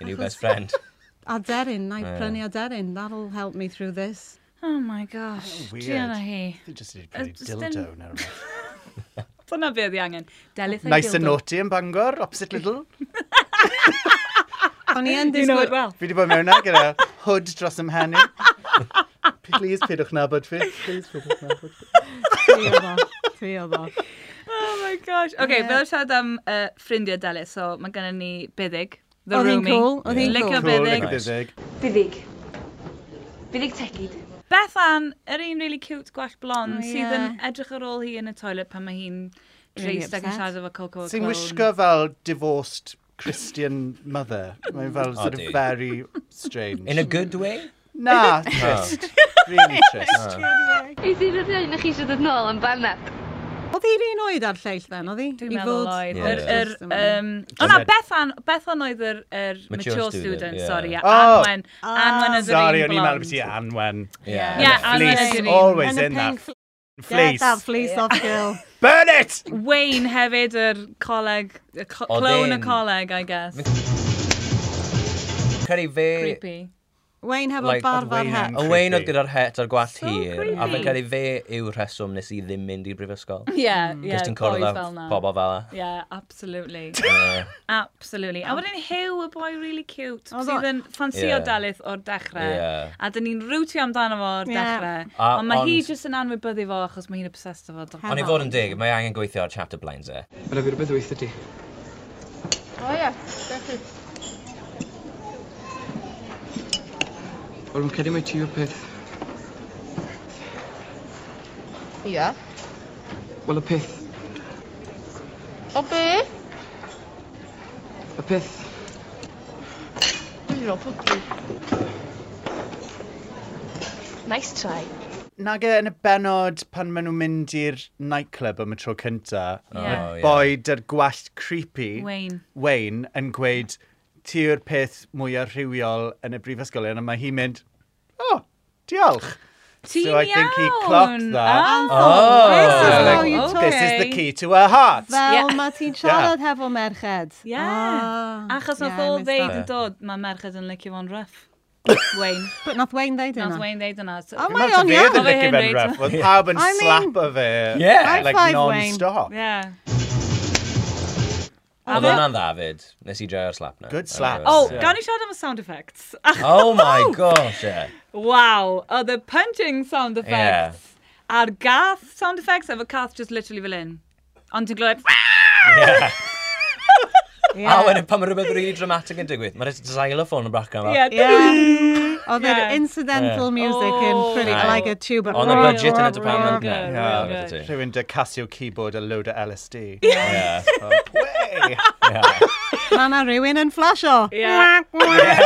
D: Your new best friend.
C: Aderyn, na i
D: Ie.
C: prynu aderyn. That'll help me through this.
F: Oh my gosh.
E: Weird.
F: Diana hi.
E: They just did pretty
F: just didn't-
E: dildo now.
F: Dyna beth i angen. Delith ei
E: Nice and
F: dildo.
E: naughty yn Bangor, opposite Lidl.
C: O'n i yn
F: Ah, You know
C: disgwyl...
F: it well.
E: Fi wedi bod mewn na gyda hood dros ymhenni. Please, pidwch nabod fi. Please, pidwch nabod fi.
C: Fi oedd o. Fi oedd o.
F: Oh my gosh. OK, yeah. fel siarad am uh, ffrindiau Delis, so mae gennym ni Byddig, The
C: Oedd hi'n
F: Roomie.
C: cool, oedd hi'n
F: Licio
C: cool.
E: Cool,
F: Byddig.
E: like byddig.
A: Fyddig. Fyddig tegid.
F: Bethan, yr un really cute gwell blond,
C: O,
F: oh,
C: ie.
F: sydd yn edrych ar ôl hi yn y toilet pan mae hi'n
C: Really
F: dreist ac yn
C: upset.
F: siarad efo Coco a
E: Sy'n
F: Clone.
E: wisgo fel divorced Christian mother. Mae'n fel sort of
D: Odi.
E: very strange.
D: In a good way?
E: Na, trist. Really trist.
A: Is i'r rhaid na chi eisiau dod nôl am banad?
C: Oedd hi'r un oed ar lleill then, oedd hi?
F: Dwi'n
C: I
F: meddwl
C: fod-
F: oedd.
D: Ie.
F: Yr, yr,
C: Just yn meddwl.
F: yym... O na,
E: Cymryd.
F: Bethan, Bethan oedd yr, yr
D: Mature
F: mature
D: student,
F: student,
D: ie.
F: sorry. a
E: Oh.
F: Anwen,
C: Ah.
F: Anwen oedd yr
E: Sorry,
F: un
E: o'n i'n meddwl
F: blond.
E: beth i Anwen.
D: Yeah.
F: Yeah,
E: And the
F: Anwen
E: fleece,
F: oedd yr un.
E: always
C: And a
E: in that
C: pink Get
E: fleece.
C: that fleece off, girl.
E: Burn it!
F: Wayne hefyd, yr coleg, y co-
D: Oedd
F: clone y
D: e'n-
F: coleg, I guess.
D: Credu fe...
F: Creepy.
C: Wayne hefo like,
D: Like,
C: barfar
E: Wayne
C: het.
E: yn-
D: A Wayne oedd gyda'r het a'r gwallt
F: So
D: hir, a
F: creepy.
D: fe'n cael ei fe yw'r rheswm nes i ddim mynd i'r brifysgol.
F: Yeah, yeah.
D: Cys ti'n cwrdd
F: boys
D: â
F: fel 'na.
D: pobl fel e.
F: Yeah, absolutely.
D: Ie.
F: Absolutely. A wedyn Hugh, y boi really cute,
C: Oedd
F: sydd
C: o-
F: yn ffansio
D: Ie.
F: dalith o'r dechrau.
D: Ie.
F: A dyn ni'n rwtio amdano fo
C: Ie.
F: o'r dechrau.
D: A-
F: Ond mae hi
D: ond-
F: jyst yn anwybyddu fo achos mae hi'n obsessed efo Dr.
D: Ond i fod yn dig, mae angen gweithio ar chapter blinds e.
G: Mae'n fi rhywbeth weithio ti.
A: O ia, definitely.
G: Wel, mae'n credu mae ti yw'r peth...
A: Ia.
G: Wel, y peth...
A: O be?
G: Y peth...
A: Dwi'n rhaid pwgri.
J: Nice try.
E: Nag e yn y benod pan maen nhw'n mynd i'r nightclub am y tro cynta,
D: Oh,
F: Yeah.
D: O, ie.
E: boi dy'r gwallt creepy,
F: Wayne.
E: Wayne, yn gweud, ti yw'r peth mwyaf rhywiol yn y brifysgolion, a mae hi'n mynd, oh, diolch.
F: Ti'n
E: So I think he
F: iawn!
E: clocked that.
F: Oh,
D: This
C: is
F: yeah,
C: how you
F: okay.
E: This is the key to her heart.
C: Fel
F: Yeah.
C: yeah. mae ti'n siarad yeah. hefo merched.
F: Yeah.
C: Ah,
F: Achos nath
C: yeah, I
F: o
C: missed
F: ddeud
C: that.
F: yn dod, mae merched yn licio fo'n rough. Wayne.
C: But nath Wayne ddeud
F: Nath
C: yna.
F: Wayne ddeud yna. So-
C: Oh, mae
E: Mae o'n
C: o'n
E: iawn.
C: iawn.
E: Oedd yn licio fe'n
F: Henry.
E: ref. Oedd pawb yn
C: I mean-
E: slap o fe.
D: Yeah.
C: High
E: Like
C: five, Wayne.
E: non-stop.
F: Yeah.
D: Oedd hwnna'n ddafyd. Nes i joio'r slap na.
E: Good slap.
F: Oh,
E: Yeah.
F: gan i siarad am y sound effects. Ach,
D: Oh my gosh, yeah.
F: Wow, oedd y punching sound
D: Yeah.
F: effects a'r gath sound effects efo cath just literally fel un. Ond ti'n glywed,
D: A wedyn pan mae rhywbeth really dramatic yn digwydd, mae'r xylophone yn brachan fel.
F: yeah,
C: Yeah. Oedd yr
F: Yeah.
C: incidental music yn
F: Oh.
C: pretty
D: Aye.
C: like a tuba.
D: On the
F: Right,
D: budget yn y
F: right,
D: department.
F: right,
D: Yeah,
F: right,
D: yeah,
F: right.
D: yeah.
E: Rhywun dy Casio keyboard a load o LSD.
D: Yeah.
E: "Oh, Way!
C: Mae na rhywun yn flasho.
F: Yeah.
C: Yeah.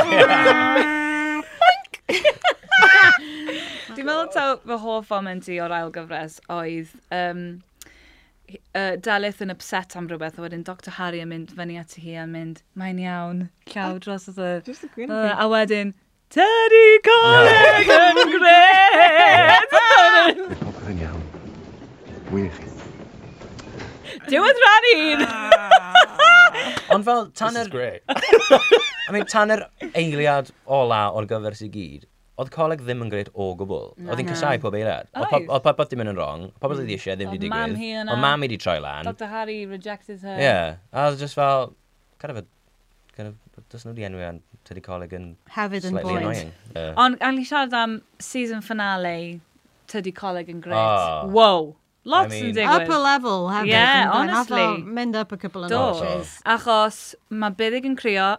F: Dwi'n meddwl taw fy hoff foment i o'r ail gyfres oedd um, uh, Dalith yn upset am rhywbeth, a wedyn Dr Harry yn mynd fyny ati hi a mynd, mae'n iawn, llaw dros y dde. Uh, a wedyn, Teddy Coleg yn gred! e.
I: Popeth yn iawn. Wych.
F: Diwedd rhan un!
D: Ond fel, tan
E: This is
D: yr...
E: great.
D: I mean, tan yr eiliad ola o'r gyfer sy'n gyd, oedd coleg ddim yn gwneud o gwbl. Oedd hi'n casau pob eiliad. Oedd
F: Oedd.
D: pob- oedd popeth ddim yn yn wrong. Pobl oedd eisiau ddim
F: Oedd
D: wedi
F: mam hi
D: digwydd.
F: yna.
D: Ond mam i wedi troi lan.
F: Dr Harry rejected her.
D: Yeah. A oedd just fel, kind of a... Kind of, does nhw wedi enwi an Teddy Coleg yn
C: Hefyd yn
D: slightly
C: boed.
D: annoying. Yeah.
F: Ond gan i siarad am season finale, Tyddi Coleg yn gret.
D: Oh.
F: Wow. Lots
D: I
F: I
D: mean-
F: yn
C: Upper
F: digwydd.
C: level hefyd.
F: Yeah,
C: ynde? Nath o
F: honestly.
C: Mynd up a couple of
F: Do.
C: notches.
F: Achos mae Biddig yn crio.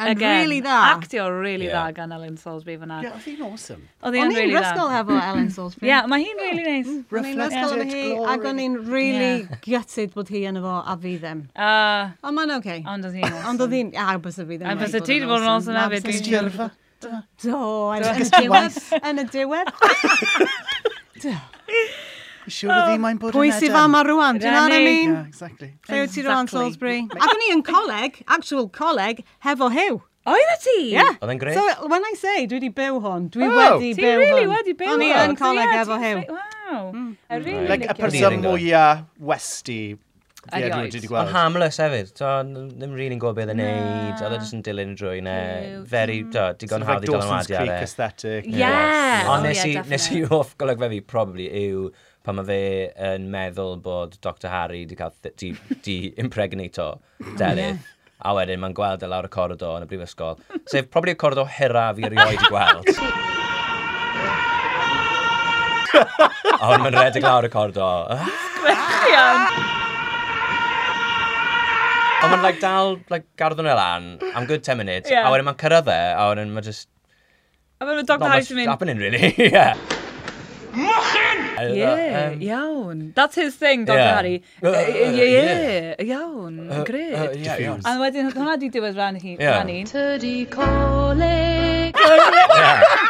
C: And
F: again,
C: really dda.
F: Actio really
D: Yeah.
F: dda gan Ellen Salisbury fyna.
E: Yeah, oedd hi'n awesome.
F: Oedd
C: O'n
F: hi'n
C: i'n
F: really
C: rysgol Mm.
F: dda.
C: hefo Ellen Salisbury.
F: Yeah, mae hi'n really nice.
C: O'n i'n ysgol
E: Reflected
C: yn hi,
E: glory.
C: ac o'n i'n really gutted bod hi yn efo a fi ddim.
F: Ah,
C: Ond ma'n okay.
F: Ond oedd hi'n
C: Ond oedd hi'n,
F: awesome.
C: a bys y fi ddim.
F: A
C: wedi
F: bysa
C: bod
F: ti
C: yn
F: di bod yn awesome hefyd,
C: Na, bysa
F: dwi'n
C: ti-
E: Silfa.
C: Do, yn yn y diwedd. Yn y diwedd.
E: Dwi'n siŵr oedd hi mae'n bod yn
C: Pwy sydd fama rwan, do you know what I
F: Rani.
C: mean?
E: Yeah, exactly.
C: Lle wyt ti rwan,
F: Exactly.
C: Salisbury? Ac o'n i yn coleg, actual coleg, hefo Hugh.
F: Oedd y ti?
C: Yeah.
D: Oedd e'n grêt.
C: So, when I say, dwi wedi byw hon, dwi
E: Oh,
C: wedi
F: Ti
C: byw
F: really
C: hwn.
F: wedi byw
C: O'n i yn
F: So,
C: coleg
F: yeah,
C: efo Mm.
F: ti'n
C: Hugh.
F: ffri- Wow. I really
D: Like,
E: Like,
F: like
E: y
D: Like,
F: it.
D: person-
E: person mwyaf westi fi
F: Erioed.
E: erioed wedi
D: Ond
E: gweld.
D: harmless hefyd. So, n- ddim rili'n gwybod beth yn neud. Oedd e jyst yn dilyn y drwy ne.
F: Cute.
D: Very, do, digon
E: Like
D: hawdd i
E: Dawson's
D: dylanwadu
E: Creek
D: ar e.
E: aesthetic.
F: Yeah.
D: Ond
F: Oh,
D: nes i,
F: yeah,
D: nes i
F: definitely.
D: hoff golygfa fi, probably, yw pan mae fe yn meddwl bod Dr Harry di, cael, th- di, di impregnato delith. A wedyn mae'n gweld e lawr y corridor yn y brifysgol. Sef, probably y corridor hera fi erioed i gweld. a hwn mae'n redeg lawr y corridor. Ond mae'n like, dal like, garddon e lan am good 10 minutes.
F: Yeah.
D: A wedyn mae'n cyrraedd e, a wedyn mae just
F: A fe'n
D: not
F: Dr Harry
D: much
F: sy'n mynd,
D: happening really. yeah. Mochyn!
F: Yeah, iawn. That's his thing, Dr.
D: Yeah.
F: Harry.
D: Uh,
F: Uh,
D: uh,
F: yeah, iawn. Great.
D: Yeah, yeah.
F: A wedyn, hwnna di diwedd rhan hi.
D: Yeah.
F: Rhan un.
A: Tyddi coleg.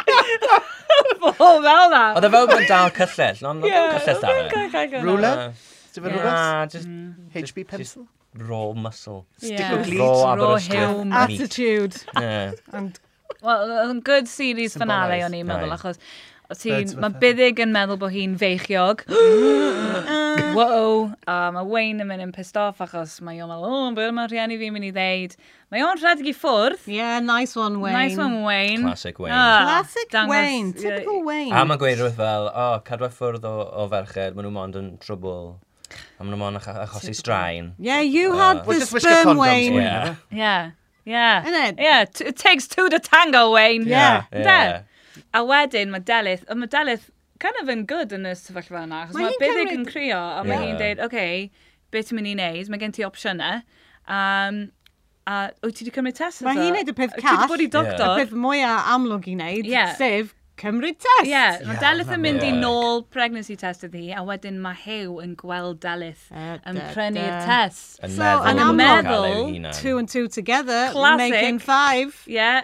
F: O, fel na.
D: Oedd e fel bod yn dal cyllell, ond oedd e'n cyllell da fe.
E: Rwla?
D: Uh,
E: Dwi'n fawr rhywbeth?
D: Na, just
E: HB
D: just
E: pencil?
D: raw muscle.
E: Stick o
F: Yeah.
E: glee.
D: Raw
F: Raw
D: Aberystwyth.
F: hewn.
D: meat.
C: Attitude.
D: Yeah.
C: And
F: Wel, oedd yn good series finale
E: Symbolise.
F: o'n i'n meddwl,
D: Aye.
F: achos Ti'n,
E: Birds of a
F: mae
E: feather.
F: byddig yn meddwl bod hi'n feichiog. Wow. A mae Wayne yn mynd yn pissed off achos mae o'n meddwl, o, oh, beth mae'r rhieni fi'n mynd i ddeud. Mae o'n rhedeg i ffwrdd.
C: Yeah, nice one, Wayne.
F: Nice one, Wayne.
D: Classic Wayne.
F: Ah,
C: Classic
F: dangos-
C: Wayne. Typical Wayne.
D: A mae'n gweud rhywbeth fel, o, oh, cadwa ffwrdd o, o ferched, maen nhw mond yn trwbl. A maen nhw mond yn ach- achosi straen.
C: Yeah,
D: Uh,
C: you had
E: Well,
C: the
E: just wish your
C: sperm,
E: condoms
C: Wayne.
E: were-
D: Yeah.
F: Yeah, yeah.
C: Innit?
F: Yeah, t- it takes two to tango, Wayne.
C: Yeah.
D: Yeah.
F: Ynde? A wedyn mae Delith, a mae Delith kind of yn good yn y sefyllfa yna, achos
C: Mae
F: mae
C: hi'n
F: byddig
C: cymryd-
F: yn crio, a mae
D: Ie.
F: hi'n dweud, oce, okay, beth ti'n mynd i wneud, mae gen ti opsiynau. Um, a wyt ti wedi cymryd test?
C: Mae
F: eto?
C: hi'n neud y peth
F: Wyt Ti
C: call.
F: wedi bod i doctor?
C: Peth mwyaf amlwg i wneud,
F: Yeah.
C: sef cymryd test.
F: Ie, yeah, mae Delith yn mynd i
D: Ie.
F: nôl pregnancy test ydi, a wedyn mae Hew yn gweld Delith
C: Yy,
F: yn
C: da, da.
F: prynu'r test.
D: Yn
C: So,
D: meddwl
C: yn
D: bod nhw'n
F: amlwg-
D: cael eu
F: Meddwl,
D: hunan.
C: Two and two together,
F: Classic.
C: making five.
F: Ie. Yeah.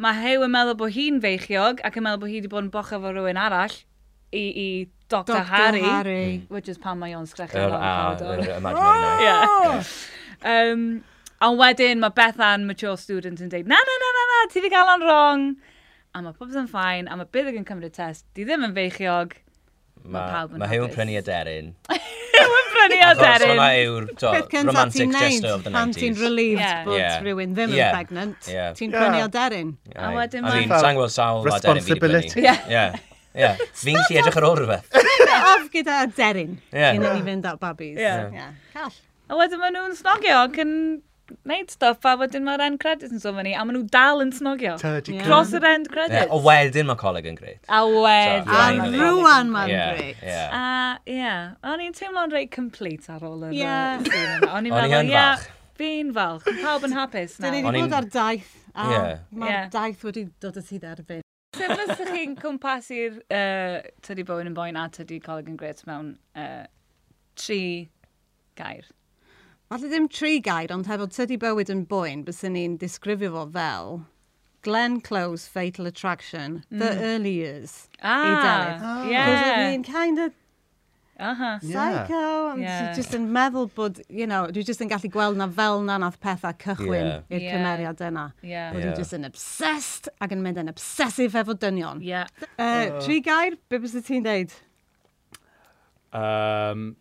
F: Mae Hew yn meddwl bod hi'n feichiog ac yn meddwl bod hi wedi bod yn boch efo rhywun arall i, i Dr.
C: Dr.
F: Harry,
D: Mm.
C: Harry.
F: Which is pan mae o'n sgrechu
D: Yr
F: ar
D: a,
F: y
D: yr
F: corridor.
D: imaginary night.
F: Ie. Um, a wedyn mae Bethan, mature student, yn dweud, na, na, na, na, na, ti wedi gael o'n wrong. A mae popeth yn ffain, a mae byddig yn cymryd test. Di ddim yn feichiog. Ma'
D: Mae
F: pawb yn
D: ma Hew yn
F: hapus.
D: prynu aderyn.
F: Mae'n prynu o
D: Achos
F: derin.
D: hwnna yw'r to,
C: Peth cynta
D: romantic
C: ti'n
D: gesture of
C: neud
D: the
C: pan ti'n
D: 90s.
C: relieved
F: Yeah.
C: bod
D: Yeah.
C: rhywun ddim yn
D: Yeah.
C: pregnant.
D: Yeah.
C: Ti'n
E: Yeah.
C: prynu o derin.
F: A
D: Aye.
F: wedyn
D: A
F: ma'-
D: fi'n sa'n gweld sawl a aderyn fi di
E: Responsibility.
D: prynu.
F: Ie.
D: Ie. Ie. Fi'n ti edrych ar ôl rhywbeth.
C: Bit off gyda derin.
D: Yeah.
C: Cyn i ni fynd at babis.
F: Yeah.
C: Yeah. Call.
F: A wedyn maen nhw'n snogio ac yn neud stuff, a wedyn mae'r end credits yn sôn fyny, a maen nhw dal yn snogio.
E: Turdy
C: Yeah.
F: Cross yr end
D: Ie.
F: credits.
D: O wedyn mae coleg yn greit.
F: A
D: So,
C: A
F: wedyn.
D: Finally.
C: rwan ma'n
D: Ie.
C: great.
D: Ie.
F: A ie, o'n i'n teimlo'n reit complete ar ôl yr...
C: Ie.
F: uh, scene yna. O'n i'n
D: O'n i
F: meddwl,
D: yn
F: ie,
D: falch.
F: fi'n falch. Pawb yn hapus
C: Dyn ni
F: nawr.
D: O'n
C: wedi
D: i'n-
C: bod ar daith, a
D: Yeah.
C: mae'r
F: Yeah.
C: daith wedi dod y sydd erbyn.
F: Sef os ydych chi'n cwmpasu'r uh, tydi bywyd yn boen a tydi coleg yn gret mewn uh, tri gair.
C: Falle ddim tri gair, ond hefo tydi bywyd yn bwyn, bys ni'n disgrifio fo fel Glenn Close Fatal Attraction, The Early Years. I Delith.
F: Ah!
C: Because I
F: Ie.
C: mean, kind of
F: Aha.
C: psycho, and yeah.
F: Yeah.
C: just yn meddwl bod, you know, dwi just yn gallu gweld na fel na nath pethau cychwyn
D: Yeah.
C: i'r
F: Yeah.
C: cymeriad yna. Bod
F: Ie.
D: Yeah.
C: yeah. just yn obsessed ac yn mynd yn obsessif efo dynion.
F: Ie.
C: Uh, tri gair, be bys ti'n deud?
E: Um,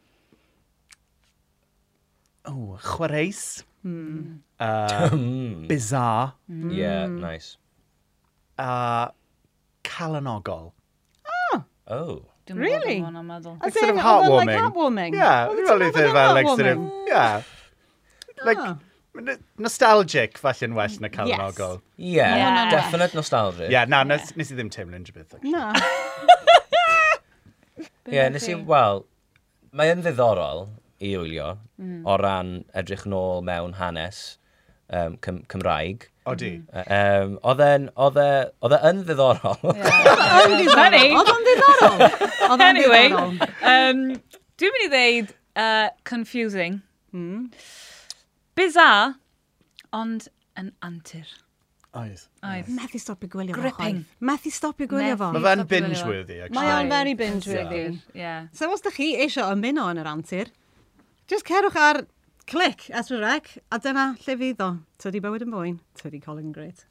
E: oh, chwareus.
C: Hmm.
D: Hmm.
E: Uh, bizarre. Uh,
D: Ie. Nice.
E: A calanogol.
D: Oh.
F: Dwi'n meddwl
C: Really?
F: bod hwn yn meddwl.
C: As
E: sort
C: in, oedd o'n oh, Like
E: of heartwarming.
C: heartwarming.
E: Yeah,
C: Oedd
E: fi'n
C: ti'n
E: meddwl i
C: meddwl
E: ddweud fel, like,
C: heartwarming? Ah.
E: sort of, yeah. Like, n- nostalgic, falle'n well
C: Mm,
E: na calanogol.
D: Ie.
F: hwnna'n
D: Definite nostalgia.
E: Yeah, na, nes nes i ddim teimlo'n rhywbeth. actually.
C: Na.
D: Ie, yeah, nes i, wel, mae yn ddiddorol i wylio mm. o ran edrych nôl mewn hanes um, Cym Cymraeg.
E: O di.
C: Mm.
D: Um, oedd e'n- oedd e oedd e yn ddiddorol.
C: Oedd o'n
F: Funny.
C: ddiddorol. Oedd o'n ddiddorol. Oedd o'n
F: Anyway,
C: ddiddorol.
F: um, dwi'n mynd i ddeud uh, confusing. Hmm. Bizarre, ond yn antur.
E: Oedd.
F: Oedd.
C: Methu stopio gwylio fo.
F: Gripping.
C: chwaith. Methu stopio gwylio fo.
E: Mae
F: Methu.
E: fe'n
F: Stop i
E: binge
F: wylio.
E: worthy, actually.
C: Mae o'n very binge worthy.
F: Yeah.
C: So os da chi eisiau ymuno yn yr antur, just cerwch ar clic as we rec, a dyna lle fydd o. Tydi bywyd yn bwyn, tydi Colin Great.